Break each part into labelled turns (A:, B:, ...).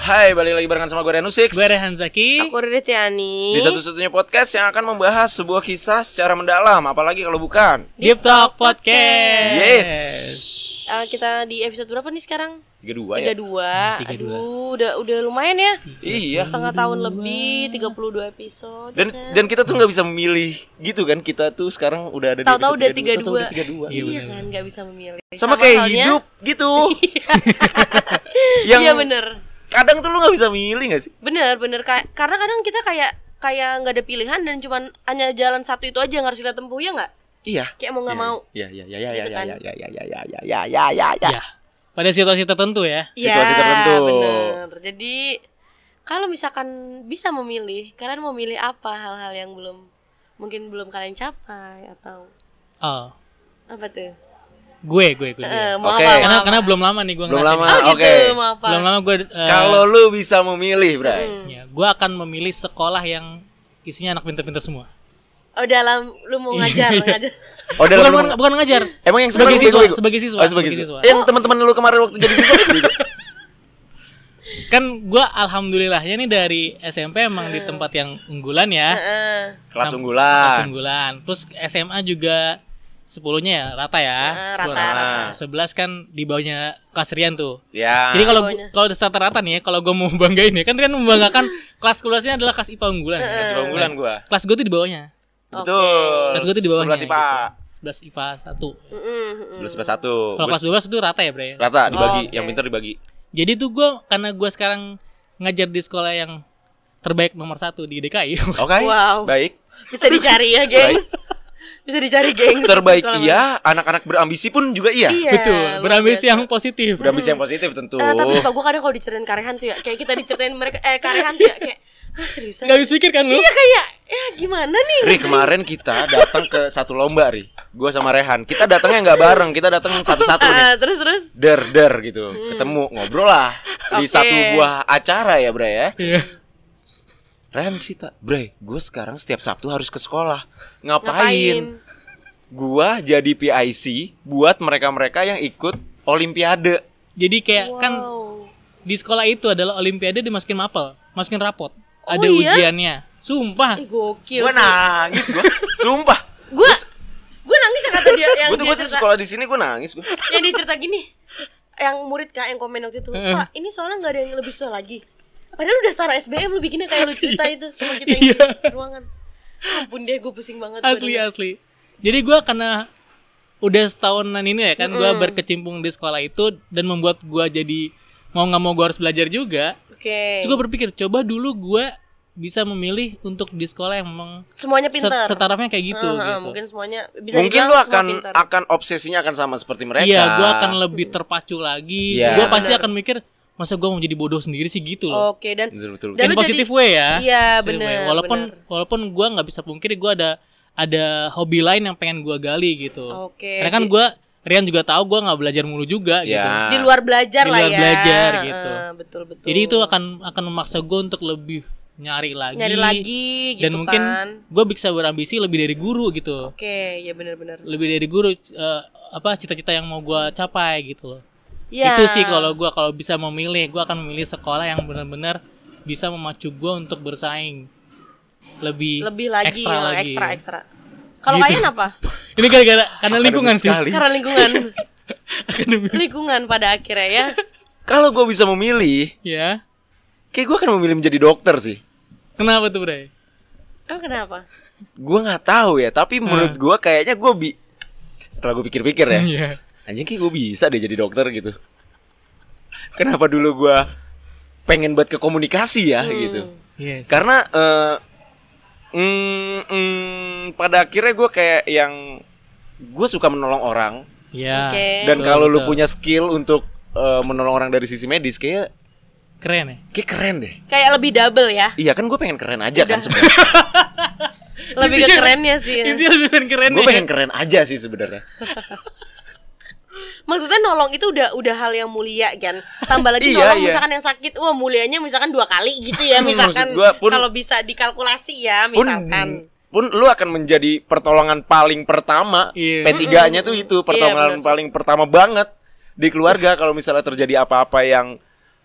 A: Hai, balik lagi barengan sama gue Renu Six
B: Gue Rehan Zaki
C: Aku Riri Tiani.
A: Di satu-satunya podcast yang akan membahas sebuah kisah secara mendalam Apalagi kalau bukan
B: Deep Talk Podcast
A: Yes
C: Eh, kita di episode berapa nih sekarang?
A: 32 ya?
B: Hmm, tiga
C: 32.
B: dua.
C: Aduh, udah udah lumayan ya.
A: Iya
C: Setengah tahun lebih, 32 episode.
A: dan,
C: ya.
A: dan kita tuh nggak bisa memilih gitu kan Kita tuh sekarang udah ada di
C: Tahu-tahu
A: episode
C: udah 32.
A: tahu-tahu udah 32.
B: Iya,
C: iya
B: bener.
C: kan nggak bisa memilih.
A: Sama, kayak
C: halnya-
A: hidup gitu
C: Iya bener
A: kadang tuh lu nggak bisa milih gak sih?
C: Bener bener Ka- karena kadang kita kayak kayak nggak ada pilihan dan cuman hanya jalan satu itu aja yang harus kita tempuh ya nggak?
A: Iya
C: Kayak mau nggak
A: Iya,
C: mau.
A: Iya, iya, iya, iya,
C: Gitu
A: iya,
C: kan.
A: iya, iya, iya, iya, iya, iya, iya, iya, iya
B: Ya Pada situasi tertentu ya
A: Situasi tertentu.
C: Bener. Jadi kalau misalkan bisa memilih, kalian mau milih apa hal-hal yang belum mungkin belum kalian capai atau
B: Oh
C: apa tuh?
B: Gue, gue, gue, gue.
C: Eh, mau
A: Oke.
C: apa? mau
B: karena,
C: apa?
B: karena belum lama nih gue
A: Belum
B: ngerasain.
A: lama,
C: Oh gitu,
A: oke
C: mau apa?
B: Belum lama gue eh,
A: Kalau lu bisa memilih, Bray
C: Hmm.
B: ya, Gue akan memilih sekolah yang isinya anak pinter-pinter semua
C: Oh dalam lu mau ngajar, ngajar.
A: Oh, dalam
B: bukan,
A: lu-
B: bukan, bukan ngajar
A: Emang yang
B: Sebagai
A: sekarang
B: siswa,
A: bego-bego?
B: sebagai siswa,
A: Oh, sebagai siswa. Yang teman-teman lu kemarin waktu jadi siswa gitu.
B: Kan gue alhamdulillahnya nih dari SMP emang di tempat yang unggulan ya
C: Heeh.
A: kelas
B: Sam-
A: unggulan.
B: kelas unggulan. Terus SMA juga sepuluhnya ya rata ya.
C: Heeh,
B: 10
C: rata,
A: rata.
B: Sebelas kan di bawahnya kelas Rian tuh.
A: Ya.
B: Jadi kalau
C: bawahnya.
B: kalau rata-rata nih, ya, kalau gue mau banggain ya, kan Rian membanggakan kelas kelasnya adalah kelas IPA unggulan. ya.
A: kelas unggulan gua.
B: Kelas gue tuh di bawahnya.
C: Oke.
A: Betul.
B: Kelas gua tuh di bawahnya,
A: Sebelas IPA.
B: 11 IPA 1.
C: Mm-mm, mm-mm.
A: Sebelas IPA satu.
B: Kalau
A: Gua
B: kelas 12 itu rata ya, Bre.
A: Rata dibagi,
C: Oh, oke.
A: yang pintar dibagi.
B: Jadi tuh gue karena gue sekarang ngajar di sekolah yang terbaik nomor satu di DKI.
A: Oke.
C: Wow.
A: Baik.
C: Bisa dicari ya, gengs. Bisa dicari, gengs.
A: Terbaik
C: Kalau-
A: iya, anak-anak berambisi pun juga iya.
C: Iya.
B: Betul,
C: luar
B: berambisi
C: biasa.
B: yang positif.
A: Berambisi yang positif tentu.
C: Eh, tapi sumpah gue kadang kalau diceritain karehan tuh ya Kayak kita diceritain mereka Eh karehan tuh ya Kayak Ah seriusan
B: Gak habis pikir kan lu?
C: Iya kayak Ya gimana nih
A: Ri kemarin kita datang ke satu lomba Ri Gua sama Rehan Kita datangnya nggak bareng Kita datang satu-satu nih
C: Ah, Terus terus
A: Der der gitu Ketemu ngobrol lah Di
C: Hmm. Oke.
A: satu buah acara ya Bray ya
B: Iya.
A: Ren cerita, Bre, gue sekarang setiap Sabtu harus ke sekolah. Ngapain?
C: Ngapain
A: Gua jadi PIC buat mereka-mereka yang ikut Olimpiade.
B: Jadi kayak kan
C: Wow.
B: di sekolah itu adalah olimpiade dimasukin mapel, masukin rapot.
C: Oh,
B: ada
C: iya?
B: ujiannya. Sumpah.
C: Eh gokil
A: Gue nangis gue, sumpah.
C: Gue Gue nangis yang kata dia Yang
A: Gue tuh gue
C: dia
A: tuh
C: cerita-
A: sekolah di sini gue nangis gue.
C: Yang dia cerita gini Yang murid kak yang komen waktu itu
B: Heeh.
C: Pak ini soalnya gak ada yang lebih susah lagi Padahal udah setara SBM lu bikinnya kayak lu cerita itu Sama kita yang
B: Iya.
C: di ruangan Ampun deh gue pusing banget
B: Asli
C: badannya.
B: asli. Jadi gua karena udah setahunan ini ya kan gua berkecimpung di sekolah itu dan membuat gua jadi mau nggak mau gua harus belajar juga.
C: Oke
B: Terus gua berpikir coba dulu gua bisa memilih untuk di sekolah yang memang
C: Semuanya
B: set-
C: pintar
B: setarafnya kayak gitu
C: Heeh,
B: gitu.
C: Mungkin semuanya bisa
A: Mungkin
C: dibilang
A: lu
C: semua
A: akan
C: pintar.
A: akan obsesinya akan sama seperti mereka.
B: Iya, gua akan lebih terpacu lagi.
A: Iya.
B: Gua pasti akan mikir masa gua mau jadi bodoh sendiri sih gitu loh.
C: Oke dan
A: Betul, betul,
C: Oh.
B: in
C: Dan lu
B: positive
C: jadi-
B: way ya.
C: Iya,
B: Positive
C: bener,
B: way. Walaupun
C: bener.
B: walaupun gua nggak bisa pungkiri gua ada ada hobi lain yang pengen gua gali gitu.
C: Oke.
B: Karena kan
C: Di-
B: gua Rian juga tahu gua nggak belajar mulu juga
A: Ya.
B: gitu.
C: di luar belajar
B: Di
C: lah
B: luar
C: ya.
B: belajar, gitu.
C: Heeh, betul betul.
B: Jadi itu akan akan memaksa gua untuk lebih nyari lagi.
C: nyari lagi gitu
B: dan mungkin
C: kan.
B: gua bisa berambisi lebih dari guru gitu.
C: Oke, ya benar-benar.
B: Lebih dari guru eh, apa cita-cita yang mau gua capai gitu loh.
C: Ya.
B: Itu sih kalau gua kalau bisa memilih, gua akan memilih sekolah yang benar-benar bisa memacu gua untuk bersaing. Lebih
C: lebih lagi
B: ekstra
C: ya,
B: lagi.
C: ekstra ekstra. Kalau
B: Gitu.
C: kalian apa?
B: Ini gara-gara karena lingkungan
A: Akademis
B: sih.
A: sekali.
C: Karena lingkungan.
B: Akademis.
C: lingkungan pada akhirnya ya.
A: Kalau gue bisa memilih,
B: Ya.
A: kayak gue akan memilih menjadi dokter sih.
B: Kenapa tuh, Bre?
C: Emang kenapa?
A: Gue nggak tahu ya, tapi
B: Hmm.
A: menurut gue kayaknya gue bi. Setelah gue pikir-pikir ya,
B: Iya.
A: anjing kayak gue bisa deh jadi dokter gitu kenapa dulu gua pengen buat ke komunikasi
B: Hmm.
A: ya gitu
B: Yes.
A: karena eh, mm, mm, pada akhirnya gue kayak yang gue suka menolong orang
B: Ya.
C: Oke.
A: dan
B: Betul,
A: kalau lu
B: betul.
A: punya skill untuk eh, menolong orang dari sisi medis kayak
B: Keren ya?
A: kayak keren deh
C: Kayak lebih double ya.
A: iya kan gue pengen keren aja kan sebenarnya
C: Lebih ke
B: Intinya-
C: kerennya sih. ya.
B: Intinya lebih pengen keren
A: gue
B: ya.
A: pengen keren aja sih sebenarnya
C: Maksudnya nolong itu udah udah hal yang mulia kan. Tambah lagi
A: Iya,
C: nolong
A: iya.
C: misalkan yang sakit, wah mulianya misalkan dua kali gitu ya
A: Hmm, maksud
C: misalkan
A: gua pun-
C: kalau bisa dikalkulasi ya
A: pun
C: misalkan.
A: pun lu akan menjadi pertolongan paling pertama
B: Iya.
A: P3-nya tuh itu pertolongan
C: benar sih.
A: paling pertama banget di keluarga kalau misalnya terjadi apa-apa yang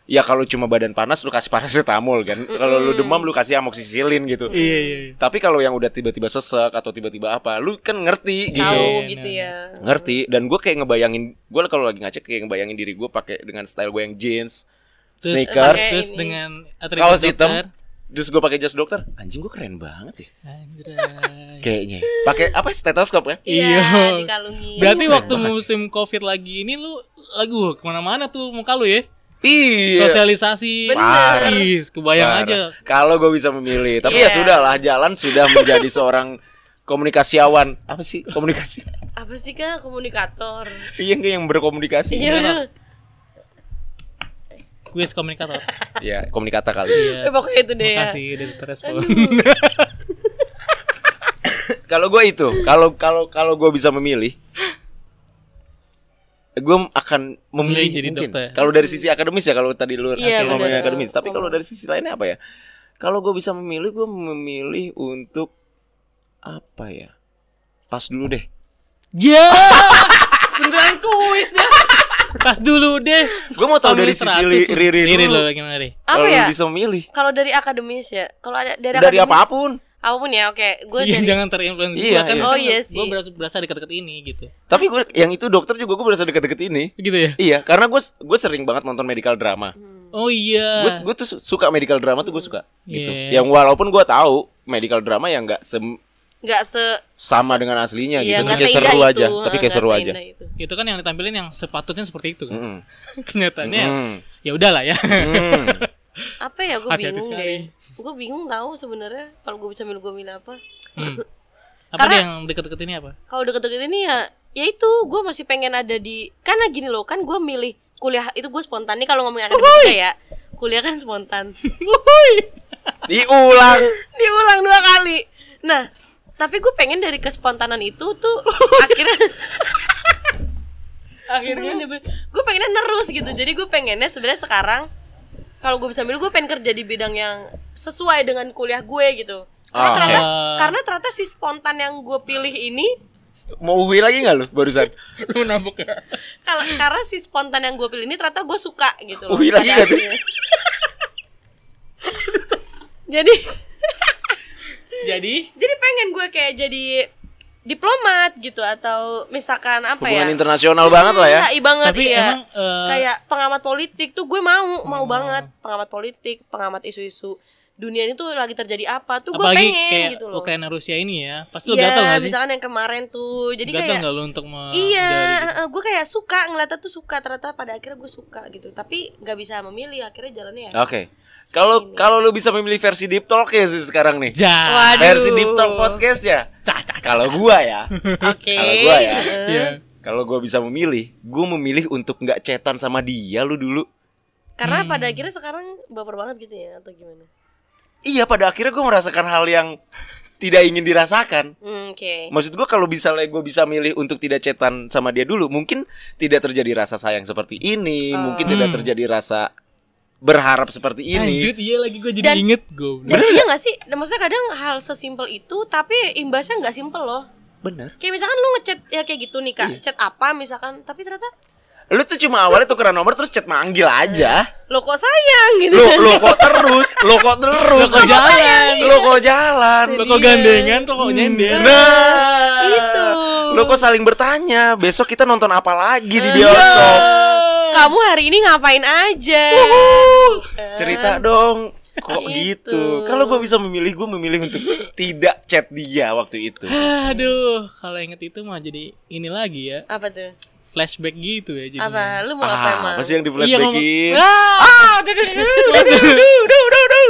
A: ya kalau cuma badan panas lu kasih paracetamol kan kalau lu demam lu kasih amoxicillin gitu
B: Iya iya. iya.
A: tapi kalau yang udah tiba-tiba sesek atau tiba-tiba apa lu kan ngerti gitu
C: tahu
B: Iya,
C: gitu
B: iya.
C: ya
A: ngerti dan gue kayak ngebayangin gue kalau lagi ngacak kayak ngebayangin diri gue pakai dengan style gue yang jeans
B: Terus, eh,
A: sneakers
C: pakai-
B: terus
C: ini.
B: dengan atribut
A: kaos hitam
B: dokter.
A: terus gue pakai jas dokter anjing gue keren banget ya
B: Anjay.
A: kayaknya ya. pakai apa stetoskop ya
B: Iya.
C: dikalungin
B: Berarti
A: gitu.
B: waktu musim covid lagi ini lu lagu kemana-mana tuh muka lu ya
A: iya
B: sosialisasi
A: Bener.
B: Is, kebayang
A: Parah.
B: aja
A: kalau gue bisa memilih tapi ya
C: Iya.
A: sudah lah jalan sudah menjadi seorang komunikasiawan apa sih komunikasi
C: apa sih kak komunikator
A: iya nggak yang berkomunikasi
C: iya udah
B: kuis komunikator Iya,
A: ya komunikata kali
C: eh, pokoknya itu deh ya
B: makasih udah terespon
A: kalau gue itu kalau kalau kalau gue bisa memilih gue akan memilih
B: Milih jadi
A: mungkin
B: dokter.
A: kalau dari sisi akademis ya kalau tadi lu
C: Iya,
A: akhirnya ngomongin
C: bener.
A: akademis tapi kalau dari sisi lainnya apa ya kalau gue bisa memilih gue memilih untuk apa ya pas dulu deh
B: ya beneran kuis deh pas dulu deh
A: gue mau tahu dari
B: Ambil
A: sisi
B: 100
A: li-
B: tuh.
A: riri
B: Riri
A: dulu
B: lo gimana Riri?
C: apa
A: kalau
C: ya
A: lu bisa memilih
C: kalau dari akademis ya kalau ada dari,
A: dari
C: akademis-
A: apapun
C: apapun ya oke gue
B: Iya,
C: dari
B: jangan terinfluence
A: Iya,
B: gua kan
A: iya.
C: Oh, iya sih.
B: Gue berasa, berasa deket-deket ini gitu
A: tapi gue yang itu dokter juga gue berasa deket-deket ini
B: Gitu ya?
A: iya karena gue gue sering banget nonton medical drama
C: Hmm.
B: Oh iya
A: gue gue tuh su- suka medical drama tuh gue suka gitu
B: Iya.
A: yang walaupun gue tahu medical drama yang nggak sem-
C: nggak se
A: sama dengan aslinya
C: iya,
A: gitu
C: nggak
A: tapi kayak
C: seindah
A: seru
C: itu.
A: aja tapi kayak
C: Nggak
A: seru aja
C: seindah itu.
B: Itu kan yang ditampilin yang sepatutnya seperti itu kan
A: Mm-mm.
C: Iya.
B: Kenyataannya
A: Mm. Mm-mm.
B: ya udahlah ya
A: Mm.
C: apa ya gue
B: Hati-hati
C: bingung
B: sekali.
C: deh gue bingung tahu sebenarnya kalau gue bisa milih gue milih apa
B: Hmm. Apa
C: Karena-
B: deh yang deket-deket ini apa?
C: kalau deket-deket ini ya ya itu gue masih pengen ada di karena gini loh kan gue milih kuliah itu gue spontan nih kalau ngomongin akademis juga ya kuliah kan spontan
A: diulang
C: diulang dua kali nah tapi gue pengen dari kespontanan itu tuh akhirnya akhirnya gue pengennya nerus gitu jadi gue pengennya sebenarnya sekarang kalau gue bisa milih gue pengen kerja di bidang yang sesuai dengan kuliah gue gitu karena
A: Ah, oke.
C: ternyata
B: Ah.
C: karena ternyata si spontan yang gue pilih ini
A: mau uhi lagi nggak lu barusan
B: Lu nabok ya?
C: kalau karena si spontan yang gue pilih ini ternyata gue suka gitu loh
A: Uhi lagi nggak
C: pada
A: tuh?
C: akhirnya. jadi
B: Jadi
C: jadi pengen gue kayak jadi diplomat gitu atau misalkan apa
A: hubungan
C: ya
A: internasional banget lah ya
C: Iya, iya banget
B: Tapi
C: iya.
B: emang eh, Oh.
C: kayak pengamat politik tuh gue mau mau banget pengamat politik pengamat isu-isu dunia ini tuh lagi terjadi apa tuh gue
B: apalagi
C: pengen
B: kayak
C: gitu loh
B: Ukraina Rusia ini ya Pasti lu gatel
C: iya
B: gak sih?
C: misalkan yang kemarin tuh jadi
B: gatel
C: kayak
B: nggak lu untuk me-
C: iya
B: dari- gitu.
C: eh, gue kayak suka ngeliatnya tuh suka ternyata pada akhirnya gue suka gitu tapi nggak bisa memilih akhirnya jalannya ya
A: oke kalau
C: Ini.
A: kalau lu bisa memilih versi deep talk ya sih sekarang nih
B: Ja.
C: Waduh.
A: versi deep talk podcast ya
B: Cah, cah, cah.
A: kalau gua ya
C: oke
A: Kalau gua ya.
C: Eh,
B: Iya.
A: kalau gua bisa memilih gua memilih untuk nggak cetan sama dia lu dulu
C: karena
B: Hmm.
C: pada akhirnya sekarang baper banget gitu ya atau gimana
A: iya pada akhirnya gua merasakan hal yang tidak ingin dirasakan
C: Hmm, oke
A: Maksud gua kalau bisa gue bisa milih untuk tidak cetan sama dia dulu, mungkin tidak terjadi rasa sayang seperti ini,
C: Oh.
A: mungkin
B: Hmm.
A: tidak terjadi rasa berharap seperti ini.
B: Anjir, iya lagi gue jadi
C: Dan-
B: inget gue.
C: dan iya gak sih? Dan maksudnya kadang hal sesimpel itu tapi imbasnya nggak simpel loh.
A: Bener.
C: Kayak misalkan lu ngechat ya kayak gitu nih
A: Iya.
C: kak, chat apa misalkan, tapi ternyata
A: Lu tuh cuma awalnya tukeran nomor terus chat manggil aja.
C: lo kok sayang
A: Lu
C: gitu.
A: lu kok terus, lu kok terus.
B: Lu kok jalan?
A: Lu kok jalan?
B: Lo kok
C: Iya.
B: gandengan, lo kok nyender.
A: Hmm. Nah.
C: Itu.
A: Lu kok saling bertanya, besok kita nonton apa lagi di
C: Eh,
B: Iya.
A: bioskop?
C: Kamu hari ini ngapain aja? Kan?
A: Cerita dong. Kok
C: Gitu.
A: gitu? Kalau gue bisa memilih, gue memilih untuk tidak chat dia waktu itu.
B: Aduh, kalau inget itu mah jadi ini lagi ya,
C: Apa tuh?
B: flashback gitu ya jadi.
C: Apa? Lu mau apa
A: Iya, Ah,
C: emang?
A: Apa sih yang di
B: Iya, ngomong-
A: flashbackin?
B: Ah!
A: Ah, udah, udah, udah, udah, udah, udah, udah, udah.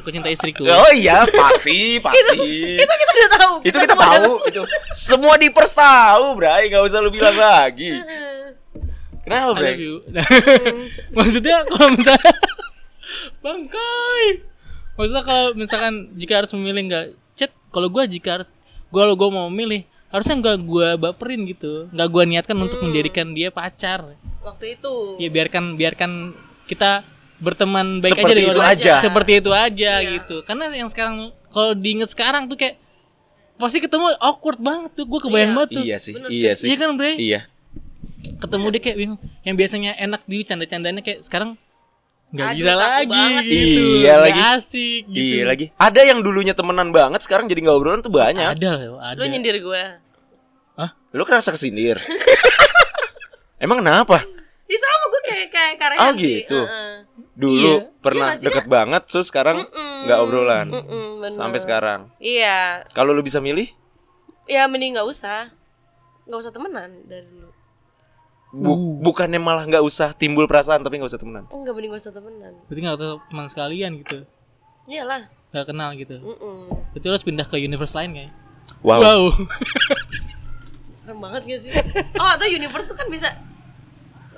B: Aku cinta istriku.
A: Oh iya, pasti, pasti.
C: Itu kita udah tahu.
A: Iya. itu kita
C: semua udah
A: tahu, itu semua dipers tahu, Bray. Gak usah lu bilang lagi. Kenapa,
B: I love
A: Bray?
B: you. Maksudnya kalau misalnya bangkai. Maksudnya kalau misalkan jika harus memilih nggak chat, kalau gua jika harus gua kalau gua mau memilih harusnya nggak gua baperin gitu, nggak gua niatkan untuk
A: Hmm.
B: menjadikan dia pacar.
C: Waktu itu.
B: Ya biarkan biarkan kita berteman baik
A: Seperti
B: aja dengan
A: itu
B: orang-
A: aja. Iya.
B: Seperti itu aja gitu. Karena yang sekarang kalau diinget sekarang tuh kayak pasti ketemu awkward banget tuh, gua kebayang banget tuh.
A: Iya sih, iya sih.
B: Iya kan, Bray?
A: Iya.
B: ketemu dia kayak bingung yang biasanya enak di canda-candanya kayak sekarang nggak
C: Aduh,
B: bisa
C: takut
B: lagi
C: banget
B: gitu
A: itu. Iya
B: Nggak
A: lagi.
B: asik gitu
A: Iya lagi. Ada yang dulunya temenan banget sekarang jadi nggak obrolan tuh banyak.
B: ada loh ada
C: Lu
A: Iya.
C: nyindir gue.
A: Lu kerasa kesindir. Emang kenapa?
C: Ya sama gue kayak kayak karyawan
A: Oh, gitu. Dulu
B: Iya.
A: pernah
C: Iya, maksudnya-
A: deket banget, terus sekarang nggak obrolan. sampai sekarang.
C: Iya,
A: Kalau lu bisa milih,
C: ya mending nggak usah, nggak usah temenan dari dulu.
A: bu-
B: Uh.
A: bukannya malah nggak usah timbul perasaan tapi nggak usah temenan.
C: Enggak mending nggak usah temenan.
B: berarti nggak tahu teman sekalian gitu
C: Iyalah.
B: nggak kenal gitu
C: Mm-mm.
B: berarti lu harus pindah ke universe lain kayak
A: Wow.
B: wow
C: Serem banget gak sih? Oh, atau universe tuh kan bisa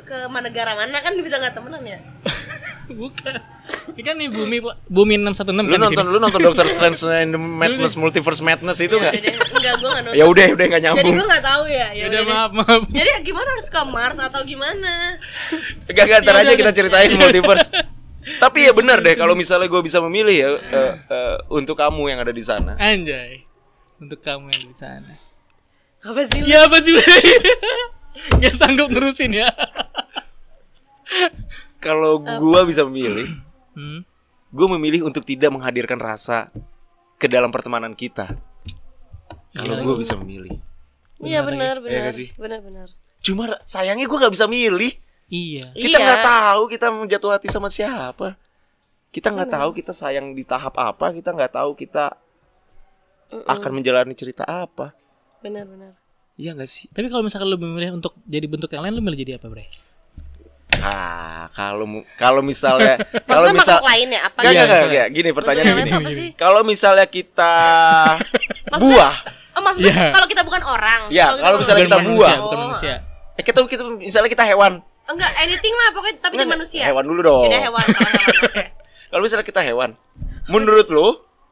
C: ke mana negara mana kan bisa nggak temenan ya?
B: bukan ini kan nih bumi bumi 616
A: Lu
B: kan di
A: nonton
B: sini
A: lu nonton Doctor Strange and the Madness Multiverse Madness
B: Iya,
A: itu
C: Udah
A: nggak?
C: deh, enggak gue nggak
A: Ya
C: nonton.
A: udah, udah nggak
C: Jadi
A: nyambung.
C: gue nggak tahu ya. Ya
B: udah
C: udah deh.
B: maaf maaf
C: Jadi gimana harus ke Mars atau gimana?
A: Gak gak
B: Iya,
A: ntar aja kita ceritain multiverse. Tapi ya benar deh kalau misalnya gue bisa memilih ya eh, eh, untuk kamu yang ada di sana.
B: anjay untuk kamu yang di sana
C: Apa
A: Iya.
C: sih? lu?
B: ya apa sih nggak sanggup nerusin ya
A: Kalau
B: Eh.
A: gue bisa memilih,
B: hmm.
A: gue memilih untuk tidak menghadirkan rasa ke dalam pertemanan kita. Kalau
B: Iya.
A: gue bisa memilih.
C: Iya
B: Benar
C: benar
A: lagi. Iya
C: benar.
A: nggak sih?
C: Benar benar.
A: Cuma ra- sayangnya gue nggak bisa milih.
B: iya
A: Kita
C: Iya.
A: nggak tahu kita mau jatuh hati sama siapa. Kita nggak tahu kita sayang di tahap apa. Kita nggak tahu kita
C: Mm-mm.
A: akan menjalani cerita apa.
C: Benar benar.
A: Iya nggak sih?
B: tapi kalau misalkan lu memilih untuk jadi bentuk yang lain lu milih jadi apa bre
A: Ah, kalau mu- kalau misalnya kalau
C: Maksudnya
A: misal
C: makhluk lain ya? Apa?
A: Gak,
B: Iya,
A: gak, gak,
B: misalnya.
A: gak. Gini pertanyaannya
C: Bentuk
A: gini.
C: yang lain apa sih?
A: Kalau misalnya kita buah,
C: Oh maksudnya
B: Iya.
C: kalau kita bukan orang.
A: Iya,
C: kita
A: kalau
C: bukan
A: misalnya
C: orang.
A: kita
B: manusia,
A: buah.
B: bukan
C: Oh,
B: manusia
A: eh, kita, kita misalnya kita hewan.
C: Enggak anything lah pokoknya tapi dia
A: Enggak,
C: manusia.
A: Hewan dulu dong.
C: Beda hewan kalau hewan manusia.
A: Kalau misalnya kita hewan, menurut lu,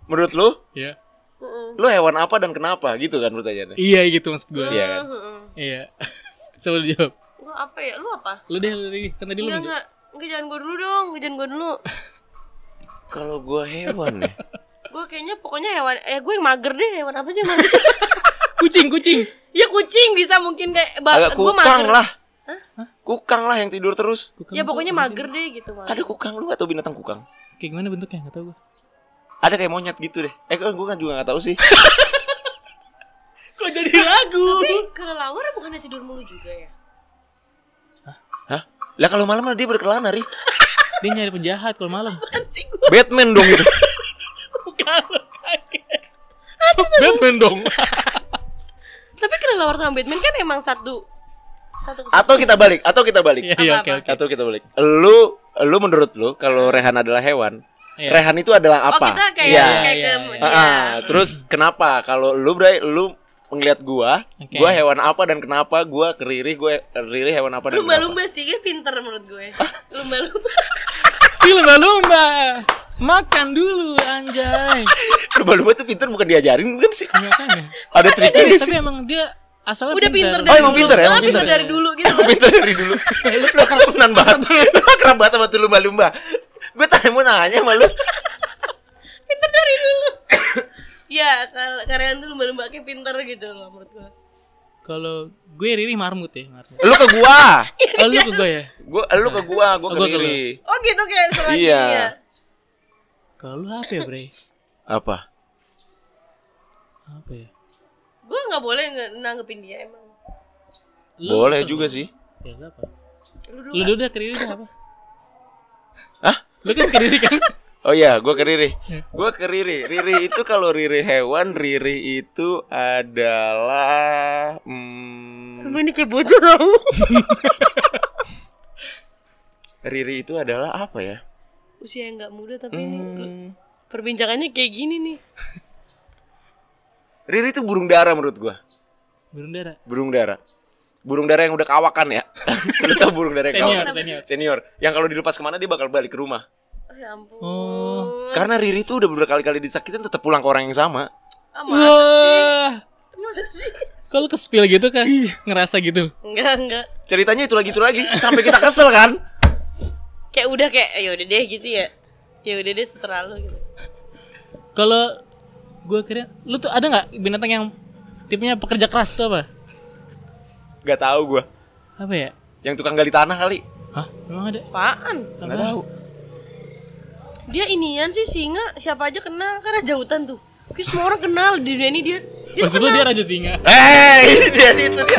A: menurut lu,
B: Iya.
C: Mm-mm.
A: lu hewan apa dan kenapa gitu kan pertanyaannya?
B: iya gitu maksud gue
A: Iya kan?
C: Mm-mm.
B: iya Coba lu jawab
C: Gua apa ya? Lu apa?
B: lu deh lu deh kan tadi lu
C: Enggak
B: menjawab.
C: enggak. Enggak jangan gua dulu dong, Enggak, jangan gua dulu.
A: Kalau gua hewan ya.
C: Gua kayaknya pokoknya hewan eh gue yang mager deh, hewan apa sih yang mager?
B: kucing kucing
C: ya kucing bisa mungkin kayak ba-
A: Agak
C: gua
A: kukang
C: mager.
A: lah. Kukang lah yang tidur terus.
B: Kukang
C: Ya
B: apa?
C: pokoknya
B: Apa sih?
C: mager deh gitu mager.
A: Ada kukang lu atau binatang kukang?
B: kayak gimana bentuknya nggak tahu gue
A: Ada kayak monyet gitu deh. Eh kan gua kan juga gak tahu sih.
B: kok jadi lagu
C: Tapi kelelawar bukannya tidur mulu juga ya?
A: Hah? Lah kalau malam dia berkelana, Ri.
B: dia nyari penjahat kalau malam
C: Anjing gua
A: Batman dong gitu. itu.
B: bukan Batman dong
C: Tapi kelelawar sama Batman kan emang satu satu kesatuan.
A: Atau kita balik, atau kita balik.
B: iya iya oke
C: Apa-apa.
B: oke
A: Atau kita balik. Lu lu menurut lu kalau Rehan adalah hewan,
B: Iya.
A: Rehan itu adalah
C: Oh
A: apa?
C: kita kayak
A: Iya.
C: kayak
B: Iya,
C: ke
B: iya,
A: Ah,
C: ya.
A: ah. terus kenapa kalau lu Bray lu ngelihat gua,
B: Oke.
A: gua hewan apa dan kenapa gua keriri gua keriri hewan apa dan
C: Lumba-lumba sih kayak pinter menurut gue. Lumba-lumba.
B: si lumba-lumba makan dulu anjay
A: kenapa? Lumba-lumba tuh pinter bukan diajarin bukan sih?
B: Makanya.
A: Ada triknya
B: Iya. Eh, tapi
A: sih.
B: emang dia asalnya
C: Iya, Udah pinter
A: Oh, emang
C: dulu.
A: pinter ya, emang
C: Ah, pinter
A: pinter.
C: dari dulu gitu.
A: pinter dari dulu.
B: Ya,
A: lu akrab temenan banget. Lu akrab banget sama tuh lumba-lumba. Gue tanya mau nanya sama lu.
C: pinter dari dulu. ya, kal- karyawan tuh lumba-lumba kayak pinter gitu loh menurut gue.
B: kalau gue Riri marmut ya marmut
A: Lu ke gua.
C: Iya,
B: oh lu ke gue ya
A: Gua lu ke gua, gua
B: Oh,
A: ke
B: gua ke lu.
A: Riri.
C: Oh gitu kayak selagi
A: Iya.
C: ya.
B: kalau lu apa ya bre
A: Apa?
B: apa ya
C: Gue nggak boleh nge- nanggepin dia emang.
B: Lu
A: Boleh
B: apa?
A: juga sih.
B: ya lu apa
C: Lu
B: lu
C: dulu.
B: dulu dah ke Riri dah apa
A: Hah?
B: lu kan ke Riri kan
A: Oh iya, gua ke Riri.
B: Iya.
A: Gua ke Riri. Riri itu kalau Riri hewan, Riri itu adalah hmm,
C: ini kayak bocor tau.
A: Riri itu adalah apa ya?
C: Usia yang nggak muda tapi ini
A: Hmm,
C: perbincangannya kayak gini nih.
A: Riri itu burung dara menurut gua.
B: burung dara
A: Burung dara. Burung dara yang udah kawakan ya. Lu tau burung dara yang
B: senior
A: kawakan.
B: senior
A: Senior. Yang kalau dilepas kemana dia bakal balik ke rumah.
C: Oh, ya ampun.
B: Oh.
A: Karena Riri itu udah berkali-kali disakitin tetap pulang ke orang yang sama.
C: Ah, masa,
B: wah
C: masa sih?
B: kalau ke spill gitu kan ngerasa gitu
C: Enggak, enggak.
A: Ceritanya itu lagi itu lagi sampai kita kesel kan?
C: kayak udah kayak ya udah deh gitu ya ya udah deh seterah lu gitu
B: kalau gue kira lu tuh ada nggak binatang yang tipenya pekerja keras tuh apa
A: Gak tahu gua.
B: apa ya
A: Yang tukang gali tanah kali?
B: Hah? Emang ada?
C: Apaan?
A: Enggak tahu.
C: Dia inian sih singa, siapa aja kenal karena jautan tuh. Kayak semua orang kenal di dunia ini dia. Dia
B: Maksud lu dia raja singa?
A: Eh, dia itu dia.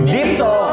A: Dito